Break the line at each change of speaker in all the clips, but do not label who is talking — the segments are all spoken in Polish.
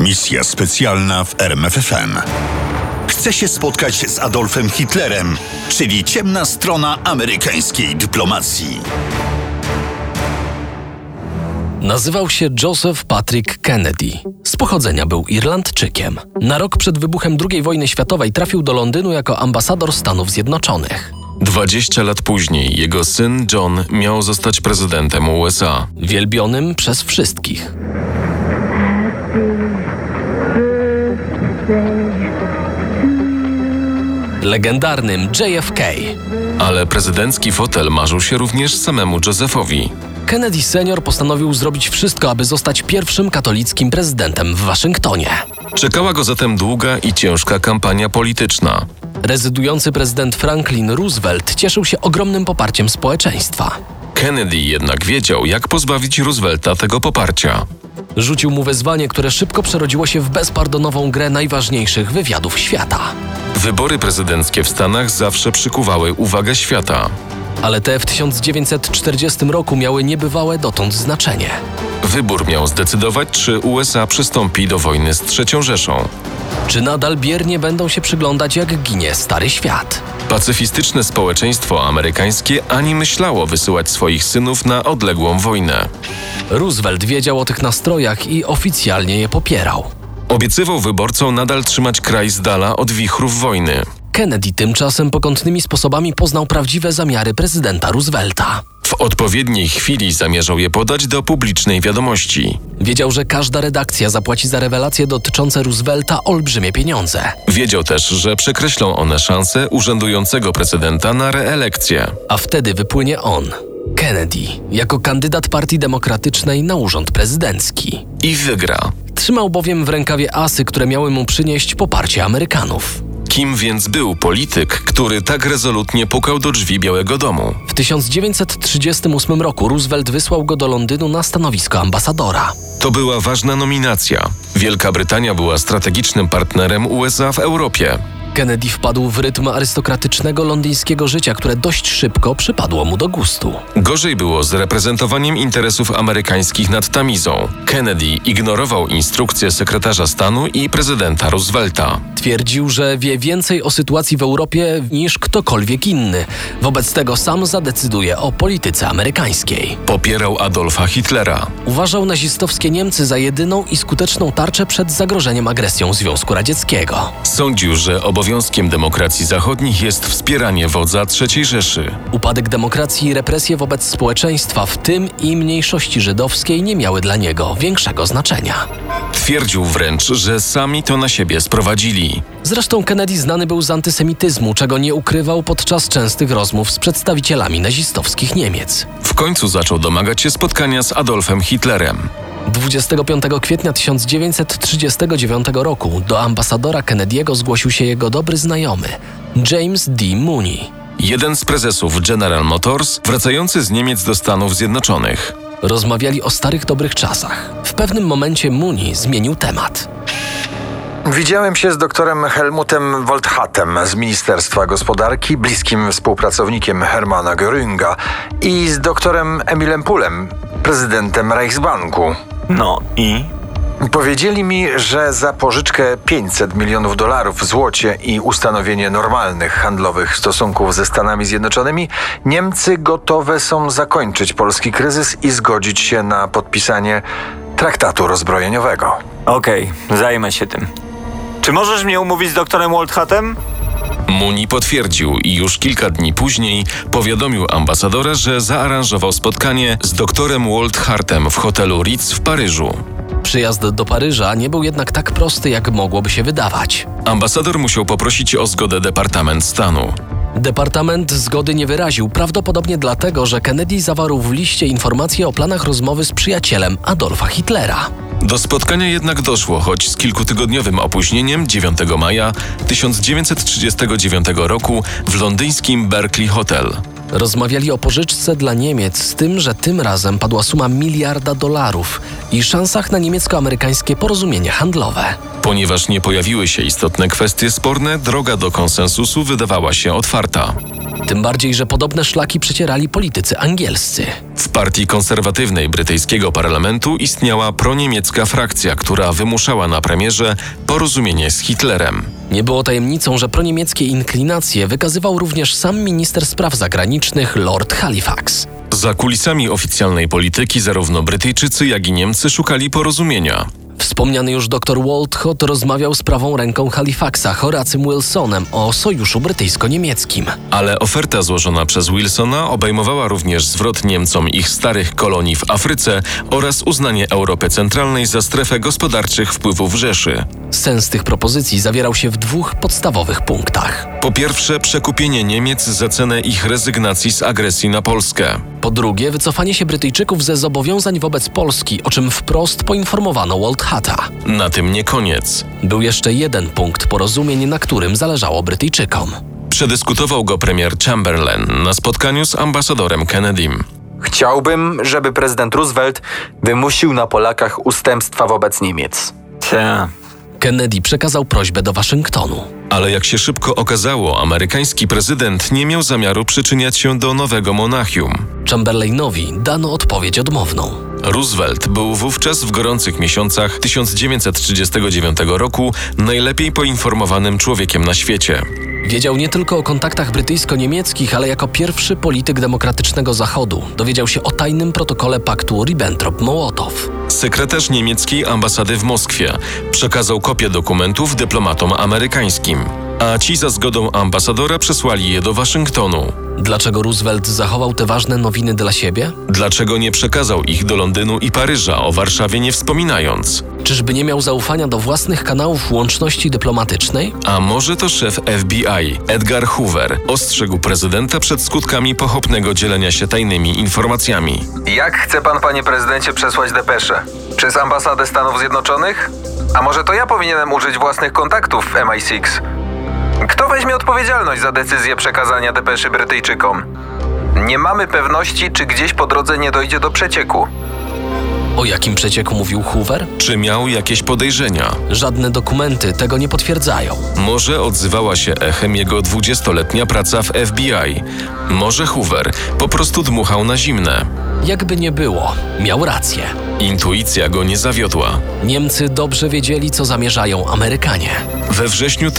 Misja specjalna w RMFFM. Chce się spotkać z Adolfem Hitlerem, czyli ciemna strona amerykańskiej dyplomacji.
Nazywał się Joseph Patrick Kennedy. Z pochodzenia był Irlandczykiem. Na rok przed wybuchem II wojny światowej trafił do Londynu jako ambasador Stanów Zjednoczonych.
20 lat później jego syn John miał zostać prezydentem USA.
Wielbionym przez wszystkich. Legendarnym JFK.
Ale prezydencki fotel marzył się również samemu Josephowi.
Kennedy senior postanowił zrobić wszystko, aby zostać pierwszym katolickim prezydentem w Waszyngtonie.
Czekała go zatem długa i ciężka kampania polityczna.
Rezydujący prezydent Franklin Roosevelt cieszył się ogromnym poparciem społeczeństwa.
Kennedy jednak wiedział, jak pozbawić Roosevelta tego poparcia.
Rzucił mu wezwanie, które szybko przerodziło się w bezpardonową grę najważniejszych wywiadów świata.
Wybory prezydenckie w Stanach zawsze przykuwały uwagę świata.
Ale te w 1940 roku miały niebywałe dotąd znaczenie.
Wybór miał zdecydować, czy USA przystąpi do wojny z III Rzeszą.
Czy nadal biernie będą się przyglądać, jak ginie stary świat?
Pacyfistyczne społeczeństwo amerykańskie ani myślało wysyłać swoich synów na odległą wojnę.
Roosevelt wiedział o tych nastrojach i oficjalnie je popierał.
Obiecywał wyborcom nadal trzymać kraj z dala od wichrów wojny.
Kennedy tymczasem pokątnymi sposobami poznał prawdziwe zamiary prezydenta Roosevelta.
W odpowiedniej chwili zamierzał je podać do publicznej wiadomości.
Wiedział, że każda redakcja zapłaci za rewelacje dotyczące Roosevelta olbrzymie pieniądze.
Wiedział też, że przekreślą one szanse urzędującego prezydenta na reelekcję.
a wtedy wypłynie on, Kennedy, jako kandydat Partii Demokratycznej na urząd prezydencki.
I wygra.
Trzymał bowiem w rękawie asy, które miały mu przynieść poparcie Amerykanów.
Kim więc był polityk, który tak rezolutnie pukał do drzwi Białego Domu?
W 1938 roku Roosevelt wysłał go do Londynu na stanowisko ambasadora.
To była ważna nominacja. Wielka Brytania była strategicznym partnerem USA w Europie.
Kennedy wpadł w rytm arystokratycznego londyńskiego życia, które dość szybko przypadło mu do gustu.
Gorzej było z reprezentowaniem interesów amerykańskich nad Tamizą. Kennedy ignorował instrukcje sekretarza stanu i prezydenta Roosevelta.
Twierdził, że wie więcej o sytuacji w Europie niż ktokolwiek inny. Wobec tego sam zadecyduje o polityce amerykańskiej.
Popierał Adolfa Hitlera.
Uważał nazistowskie Niemcy za jedyną i skuteczną tarczę przed zagrożeniem agresją Związku Radzieckiego.
Sądził, że obowiązkiem demokracji zachodnich jest wspieranie wodza III Rzeszy.
Upadek demokracji i represje wobec społeczeństwa, w tym i mniejszości żydowskiej, nie miały dla niego większego znaczenia.
Twierdził wręcz, że sami to na siebie sprowadzili.
Zresztą Kennedy znany był z antysemityzmu, czego nie ukrywał podczas częstych rozmów z przedstawicielami nazistowskich Niemiec.
W końcu zaczął domagać się spotkania z Adolfem Hitlerem.
25 kwietnia 1939 roku do ambasadora Kennedy'ego zgłosił się jego dobry znajomy, James D. Mooney.
Jeden z prezesów General Motors, wracający z Niemiec do Stanów Zjednoczonych.
Rozmawiali o starych dobrych czasach. W pewnym momencie Muni zmienił temat.
Widziałem się z doktorem Helmutem Wolthatem z Ministerstwa Gospodarki, bliskim współpracownikiem Hermana Göringa i z doktorem Emilem Pulem, prezydentem Reichsbanku.
No i
Powiedzieli mi, że za pożyczkę 500 milionów dolarów w złocie i ustanowienie normalnych handlowych stosunków ze Stanami Zjednoczonymi, Niemcy gotowe są zakończyć polski kryzys i zgodzić się na podpisanie traktatu rozbrojeniowego.
okej, zajmę się tym. Czy możesz mnie umówić z doktorem Waldhatem?
Muni potwierdził i już kilka dni później powiadomił ambasadora, że zaaranżował spotkanie z doktorem Waldhartem w hotelu Ritz w Paryżu.
Przyjazd do Paryża nie był jednak tak prosty, jak mogłoby się wydawać.
Ambasador musiał poprosić o zgodę Departament Stanu.
Departament zgody nie wyraził, prawdopodobnie dlatego, że Kennedy zawarł w liście informacje o planach rozmowy z przyjacielem Adolfa Hitlera.
Do spotkania jednak doszło, choć z kilkutygodniowym opóźnieniem 9 maja 1939 roku w londyńskim Berkeley Hotel.
Rozmawiali o pożyczce dla Niemiec, z tym, że tym razem padła suma miliarda dolarów i szansach na niemiecko-amerykańskie porozumienie handlowe.
Ponieważ nie pojawiły się istotne kwestie sporne, droga do konsensusu wydawała się otwarta.
Tym bardziej, że podobne szlaki przecierali politycy angielscy.
W partii konserwatywnej brytyjskiego parlamentu istniała proniemiecka frakcja, która wymuszała na premierze porozumienie z Hitlerem.
Nie było tajemnicą, że proniemieckie inklinacje wykazywał również sam minister spraw zagranicznych Lord Halifax.
Za kulisami oficjalnej polityki zarówno Brytyjczycy, jak i Niemcy szukali porozumienia.
Wspomniany już dr Walcott rozmawiał z prawą ręką Halifaxa, Horacym Wilsonem, o sojuszu brytyjsko-niemieckim.
Ale oferta złożona przez Wilsona obejmowała również zwrot Niemcom ich starych kolonii w Afryce oraz uznanie Europy Centralnej za strefę gospodarczych wpływów Rzeszy.
Sens tych propozycji zawierał się w dwóch podstawowych punktach.
Po pierwsze, przekupienie Niemiec za cenę ich rezygnacji z agresji na Polskę.
Po drugie, wycofanie się Brytyjczyków ze zobowiązań wobec Polski, o czym wprost poinformowano Waldhata.
Na tym nie koniec.
Był jeszcze jeden punkt porozumień, na którym zależało Brytyjczykom.
Przedyskutował go premier Chamberlain na spotkaniu z ambasadorem Kennedym.
Chciałbym, żeby prezydent Roosevelt wymusił na Polakach ustępstwa wobec Niemiec.
Ta.
Kennedy przekazał prośbę do Waszyngtonu.
Ale jak się szybko okazało, amerykański prezydent nie miał zamiaru przyczyniać się do nowego Monachium.
Chamberlainowi dano odpowiedź odmowną.
Roosevelt był wówczas w gorących miesiącach 1939 roku najlepiej poinformowanym człowiekiem na świecie.
Wiedział nie tylko o kontaktach brytyjsko-niemieckich, ale jako pierwszy polityk demokratycznego Zachodu dowiedział się o tajnym protokole paktu Ribbentrop-Mołotow.
Sekretarz niemieckiej ambasady w Moskwie przekazał kopię dokumentów dyplomatom amerykańskim, a ci za zgodą ambasadora przesłali je do Waszyngtonu.
Dlaczego Roosevelt zachował te ważne nowiny dla siebie?
Dlaczego nie przekazał ich do Londynu i Paryża, o Warszawie nie wspominając?
Czyżby nie miał zaufania do własnych kanałów łączności dyplomatycznej?
A może to szef FBI, Edgar Hoover, ostrzegł prezydenta przed skutkami pochopnego dzielenia się tajnymi informacjami.
Jak chce pan, panie prezydencie, przesłać depeszę? Przez ambasadę Stanów Zjednoczonych? A może to ja powinienem użyć własnych kontaktów w MI6? Kto weźmie odpowiedzialność za decyzję przekazania depeszy Brytyjczykom? Nie mamy pewności, czy gdzieś po drodze nie dojdzie do przecieku.
O jakim przecieku mówił Hoover?
Czy miał jakieś podejrzenia?
Żadne dokumenty tego nie potwierdzają.
Może odzywała się echem jego 20-letnia praca w FBI. Może Hoover po prostu dmuchał na zimne.
Jakby nie było, miał rację.
Intuicja go nie zawiodła.
Niemcy dobrze wiedzieli, co zamierzają Amerykanie.
We wrześniu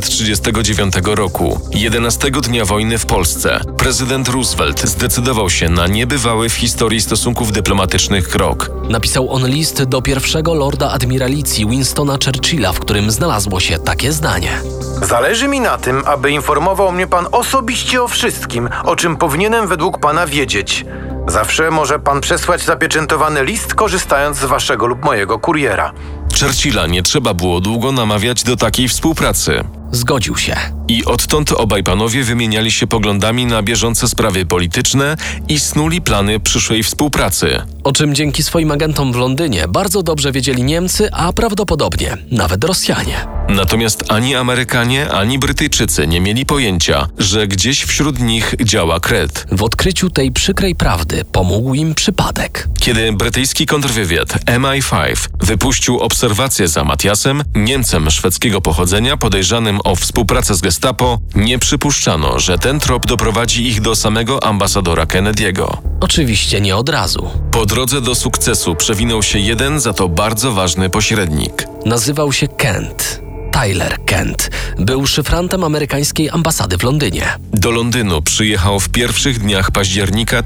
1939 roku, 11 dnia wojny w Polsce, prezydent Roosevelt zdecydował się na niebywały w historii stosunków dyplomatycznych krok.
Napisał on list do pierwszego lorda admiralicji Winstona Churchilla, w którym znalazło się takie zdanie.
Zależy mi na tym, aby informował mnie pan osobiście o wszystkim, o czym powinienem według pana wiedzieć. Zawsze może pan przesłać zapieczętowany list, korzystając z waszego lub mojego kuriera.
Churchilla nie trzeba było długo namawiać do takiej współpracy.
Zgodził się.
I odtąd obaj panowie wymieniali się poglądami na bieżące sprawy polityczne i snuli plany przyszłej współpracy.
O czym dzięki swoim agentom w Londynie bardzo dobrze wiedzieli Niemcy, a prawdopodobnie nawet Rosjanie.
Natomiast ani Amerykanie, ani Brytyjczycy nie mieli pojęcia, że gdzieś wśród nich działa kret.
W odkryciu tej przykrej prawdy pomógł im przypadek.
Kiedy brytyjski kontrwywiad MI5 wypuścił obserwację za Matiasem, Niemcem szwedzkiego pochodzenia podejrzanym o współpracę z Gestapo, nie przypuszczano, że ten trop doprowadzi ich do samego ambasadora Kennedy'ego.
Oczywiście nie od razu.
Po drodze do sukcesu przewinął się jeden za to bardzo ważny pośrednik.
Nazywał się Kent. Tyler Kent. Był szyfrantem amerykańskiej ambasady w Londynie.
Do Londynu przyjechał w pierwszych dniach października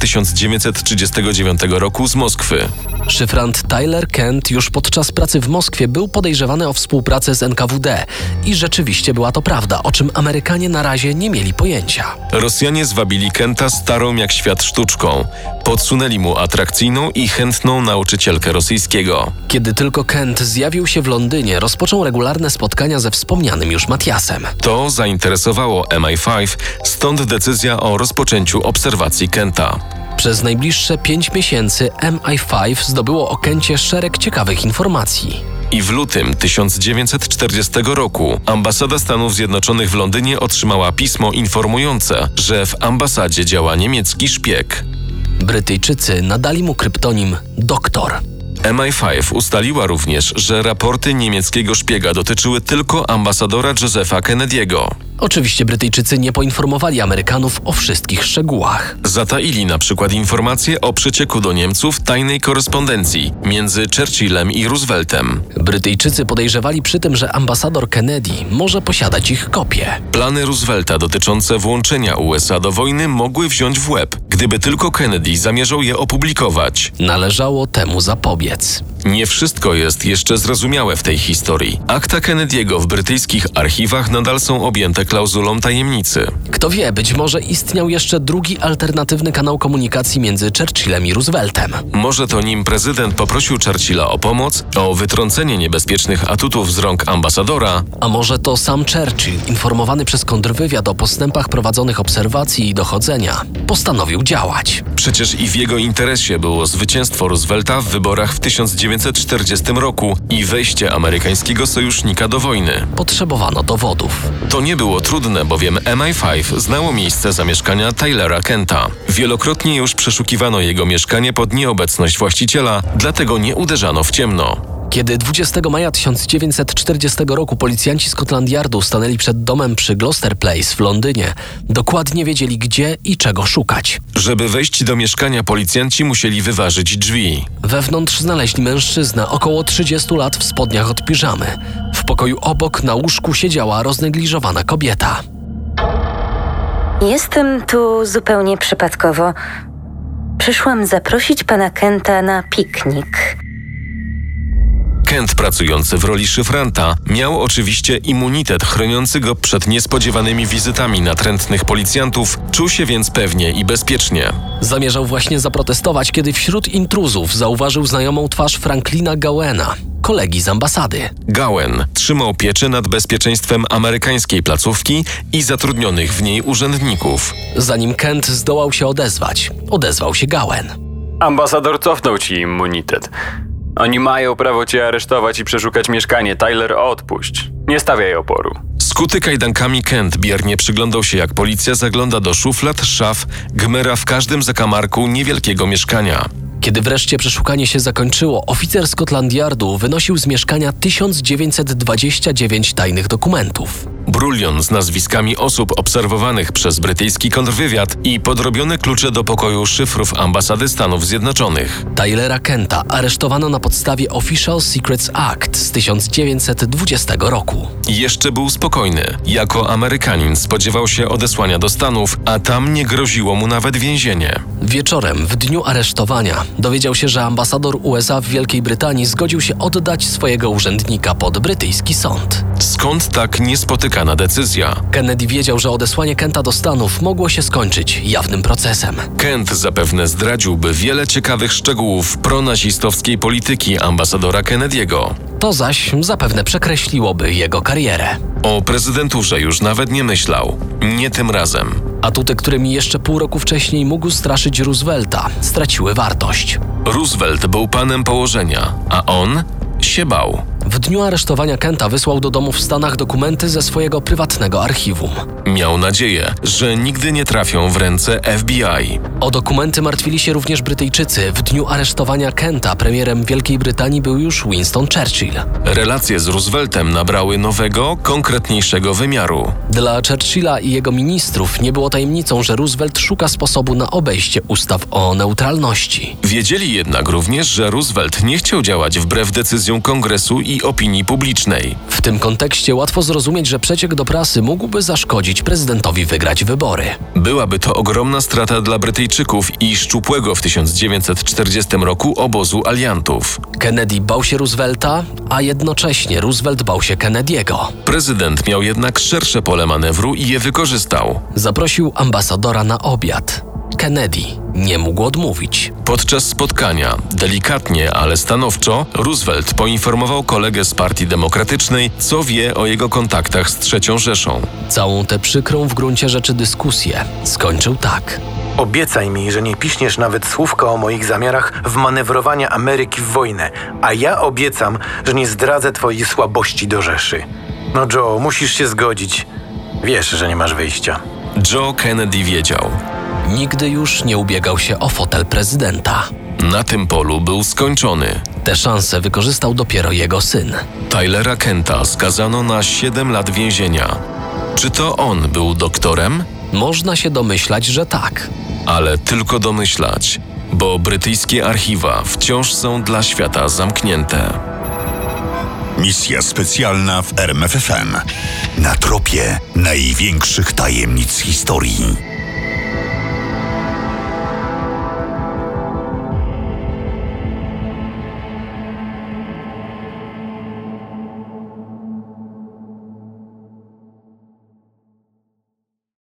1939 roku z Moskwy.
Szyfrant Tyler Kent już podczas pracy w Moskwie był podejrzewany o współpracę z NKWD i rzeczywiście była to prawda, o czym Amerykanie na razie nie mieli pojęcia.
Rosjanie zwabili Kenta starą jak świat sztuczką. Podsunęli mu atrakcyjną i chętną nauczycielkę rosyjskiego.
Kiedy tylko Kent zjawił się w Londynie, rozpoczął regularne spotkania ze wspomnianym już Matiasem.
To zainteresowało MI5, stąd decyzja o rozpoczęciu obserwacji Kenta.
Przez najbliższe pięć miesięcy MI5 zdobyło o Kencie szereg ciekawych informacji.
I w lutym 1940 roku ambasada Stanów Zjednoczonych w Londynie otrzymała pismo informujące, że w ambasadzie działa niemiecki szpieg.
Brytyjczycy nadali mu kryptonim Doktor.
MI5 ustaliła również, że raporty niemieckiego szpiega dotyczyły tylko ambasadora Josefa Kennedy'ego.
Oczywiście Brytyjczycy nie poinformowali Amerykanów o wszystkich szczegółach.
Zataili na przykład informacje o przecieku do Niemców tajnej korespondencji między Churchillem i Rooseveltem.
Brytyjczycy podejrzewali przy tym, że ambasador Kennedy może posiadać ich kopię.
Plany Roosevelta dotyczące włączenia USA do wojny mogły wziąć w łeb, gdyby tylko Kennedy zamierzał je opublikować.
Należało temu zapobiec.
Nie wszystko jest jeszcze zrozumiałe w tej historii. Akta Kennedy'ego w brytyjskich archiwach nadal są objęte klauzulą tajemnicy.
Kto wie, być może istniał jeszcze drugi alternatywny kanał komunikacji między Churchillem i Rooseveltem.
Może to nim prezydent poprosił Churchilla o pomoc, o wytrącenie niebezpiecznych atutów z rąk ambasadora,
A może to sam Churchill, informowany przez kontrwywiad o postępach prowadzonych obserwacji i dochodzenia, postanowił działać.
Przecież i w jego interesie było zwycięstwo Roosevelta w wyborach w 1940 roku i wejście amerykańskiego sojusznika do wojny.
Potrzebowano dowodów.
To nie było trudne, bowiem MI5 znało miejsce zamieszkania Tylera Kenta. Wielokrotnie już przeszukiwano jego mieszkanie pod nieobecność właściciela, dlatego nie uderzano w ciemno.
Kiedy 20 maja 1940 roku policjanci Scotland Yardu stanęli przed domem przy Gloucester Place w Londynie, dokładnie wiedzieli gdzie i czego szukać.
Żeby wejść do mieszkania, policjanci musieli wyważyć drzwi.
Wewnątrz znaleźli mężczyznę około 30 lat w spodniach od piżamy. W pokoju obok na łóżku siedziała roznegliżowana kobieta.
Jestem tu zupełnie przypadkowo. Przyszłam zaprosić pana Kenta na piknik.
Kent pracujący w roli szyfranta miał oczywiście immunitet chroniący go przed niespodziewanymi wizytami natrętnych policjantów, czuł się więc pewnie i bezpiecznie.
Zamierzał właśnie zaprotestować, kiedy wśród intruzów zauważył znajomą twarz Franklina Gowena, kolegi z ambasady.
Gowen trzymał pieczę nad bezpieczeństwem amerykańskiej placówki i zatrudnionych w niej urzędników.
Zanim Kent zdołał się odezwać, odezwał się Gowen.
Ambasador cofnął ci immunitet. Oni mają prawo cię aresztować i przeszukać mieszkanie. Tyler, odpuść. Nie stawiaj oporu.
Skuty kajdankami Kent biernie przyglądał się, jak policja zagląda do szuflad, szaf, gmyra w każdym zakamarku niewielkiego mieszkania.
Kiedy wreszcie przeszukanie się zakończyło, oficer Scotland Yardu wynosił z mieszkania 1929 tajnych dokumentów.
Brulion z nazwiskami osób obserwowanych przez brytyjski kontrwywiad i podrobione klucze do pokoju szyfrów ambasady Stanów Zjednoczonych.
Tylera Kenta aresztowano na podstawie Official Secrets Act z 1920 roku.
Jeszcze był spokojny. Jako Amerykanin spodziewał się odesłania do Stanów, a tam nie groziło mu nawet więzienie.
Wieczorem, w dniu aresztowania, dowiedział się, że ambasador USA w Wielkiej Brytanii zgodził się oddać swojego urzędnika pod brytyjski sąd.
Skąd tak niespotykana decyzja?
Kennedy wiedział, że odesłanie Kenta do Stanów mogło się skończyć jawnym procesem.
Kent zapewne zdradziłby wiele ciekawych szczegółów pronazistowskiej polityki ambasadora Kennedy'ego.
To zaś zapewne przekreśliłoby jego karierę.
O prezydenturze już nawet nie myślał. Nie tym razem.
Atuty, którymi jeszcze pół roku wcześniej mógł straszyć Roosevelta, straciły wartość.
Roosevelt był panem położenia, a on się bał.
W dniu aresztowania Kenta wysłał do domu w Stanach dokumenty ze swojego prywatnego archiwum.
Miał nadzieję, że nigdy nie trafią w ręce FBI.
O dokumenty martwili się również Brytyjczycy. W dniu aresztowania Kenta premierem Wielkiej Brytanii był już Winston Churchill.
Relacje z Rooseveltem nabrały nowego, konkretniejszego wymiaru.
Dla Churchilla i jego ministrów nie było tajemnicą, że Roosevelt szuka sposobu na obejście ustaw o neutralności.
Wiedzieli jednak również, że Roosevelt nie chciał działać wbrew decyzjom kongresu i opinii publicznej.
W tym kontekście łatwo zrozumieć, że przeciek do prasy mógłby zaszkodzić prezydentowi wygrać wybory.
Byłaby to ogromna strata dla Brytyjczyków i szczupłego w 1940 roku obozu aliantów.
Kennedy bał się Roosevelta, a jednocześnie Roosevelt bał się Kennedy'ego.
Prezydent miał jednak szersze pole manewru i je wykorzystał.
Zaprosił ambasadora na obiad. Kennedy nie mógł odmówić.
Podczas spotkania, delikatnie, ale stanowczo, Roosevelt poinformował kolegę z Partii Demokratycznej, co wie o jego kontaktach z Trzecią Rzeszą.
Całą tę przykrą w gruncie rzeczy dyskusję skończył tak.
Obiecaj mi, że nie piszniesz nawet słówka o moich zamiarach wmanewrowania Ameryki w wojnę, a ja obiecam, że nie zdradzę twojej słabości do Rzeszy. No Joe, musisz się zgodzić. Wiesz, że nie masz wyjścia.
Joe Kennedy wiedział.
Nigdy już nie ubiegał się o fotel prezydenta.
Na tym polu był skończony.
Te szanse wykorzystał dopiero jego syn.
Tylera Kenta skazano na 7 lat więzienia. Czy to on był doktorem?
Można się domyślać, że tak.
Ale tylko domyślać, bo brytyjskie archiwa wciąż są dla świata zamknięte.
Misja specjalna w RMFFM. Na tropie największych tajemnic historii.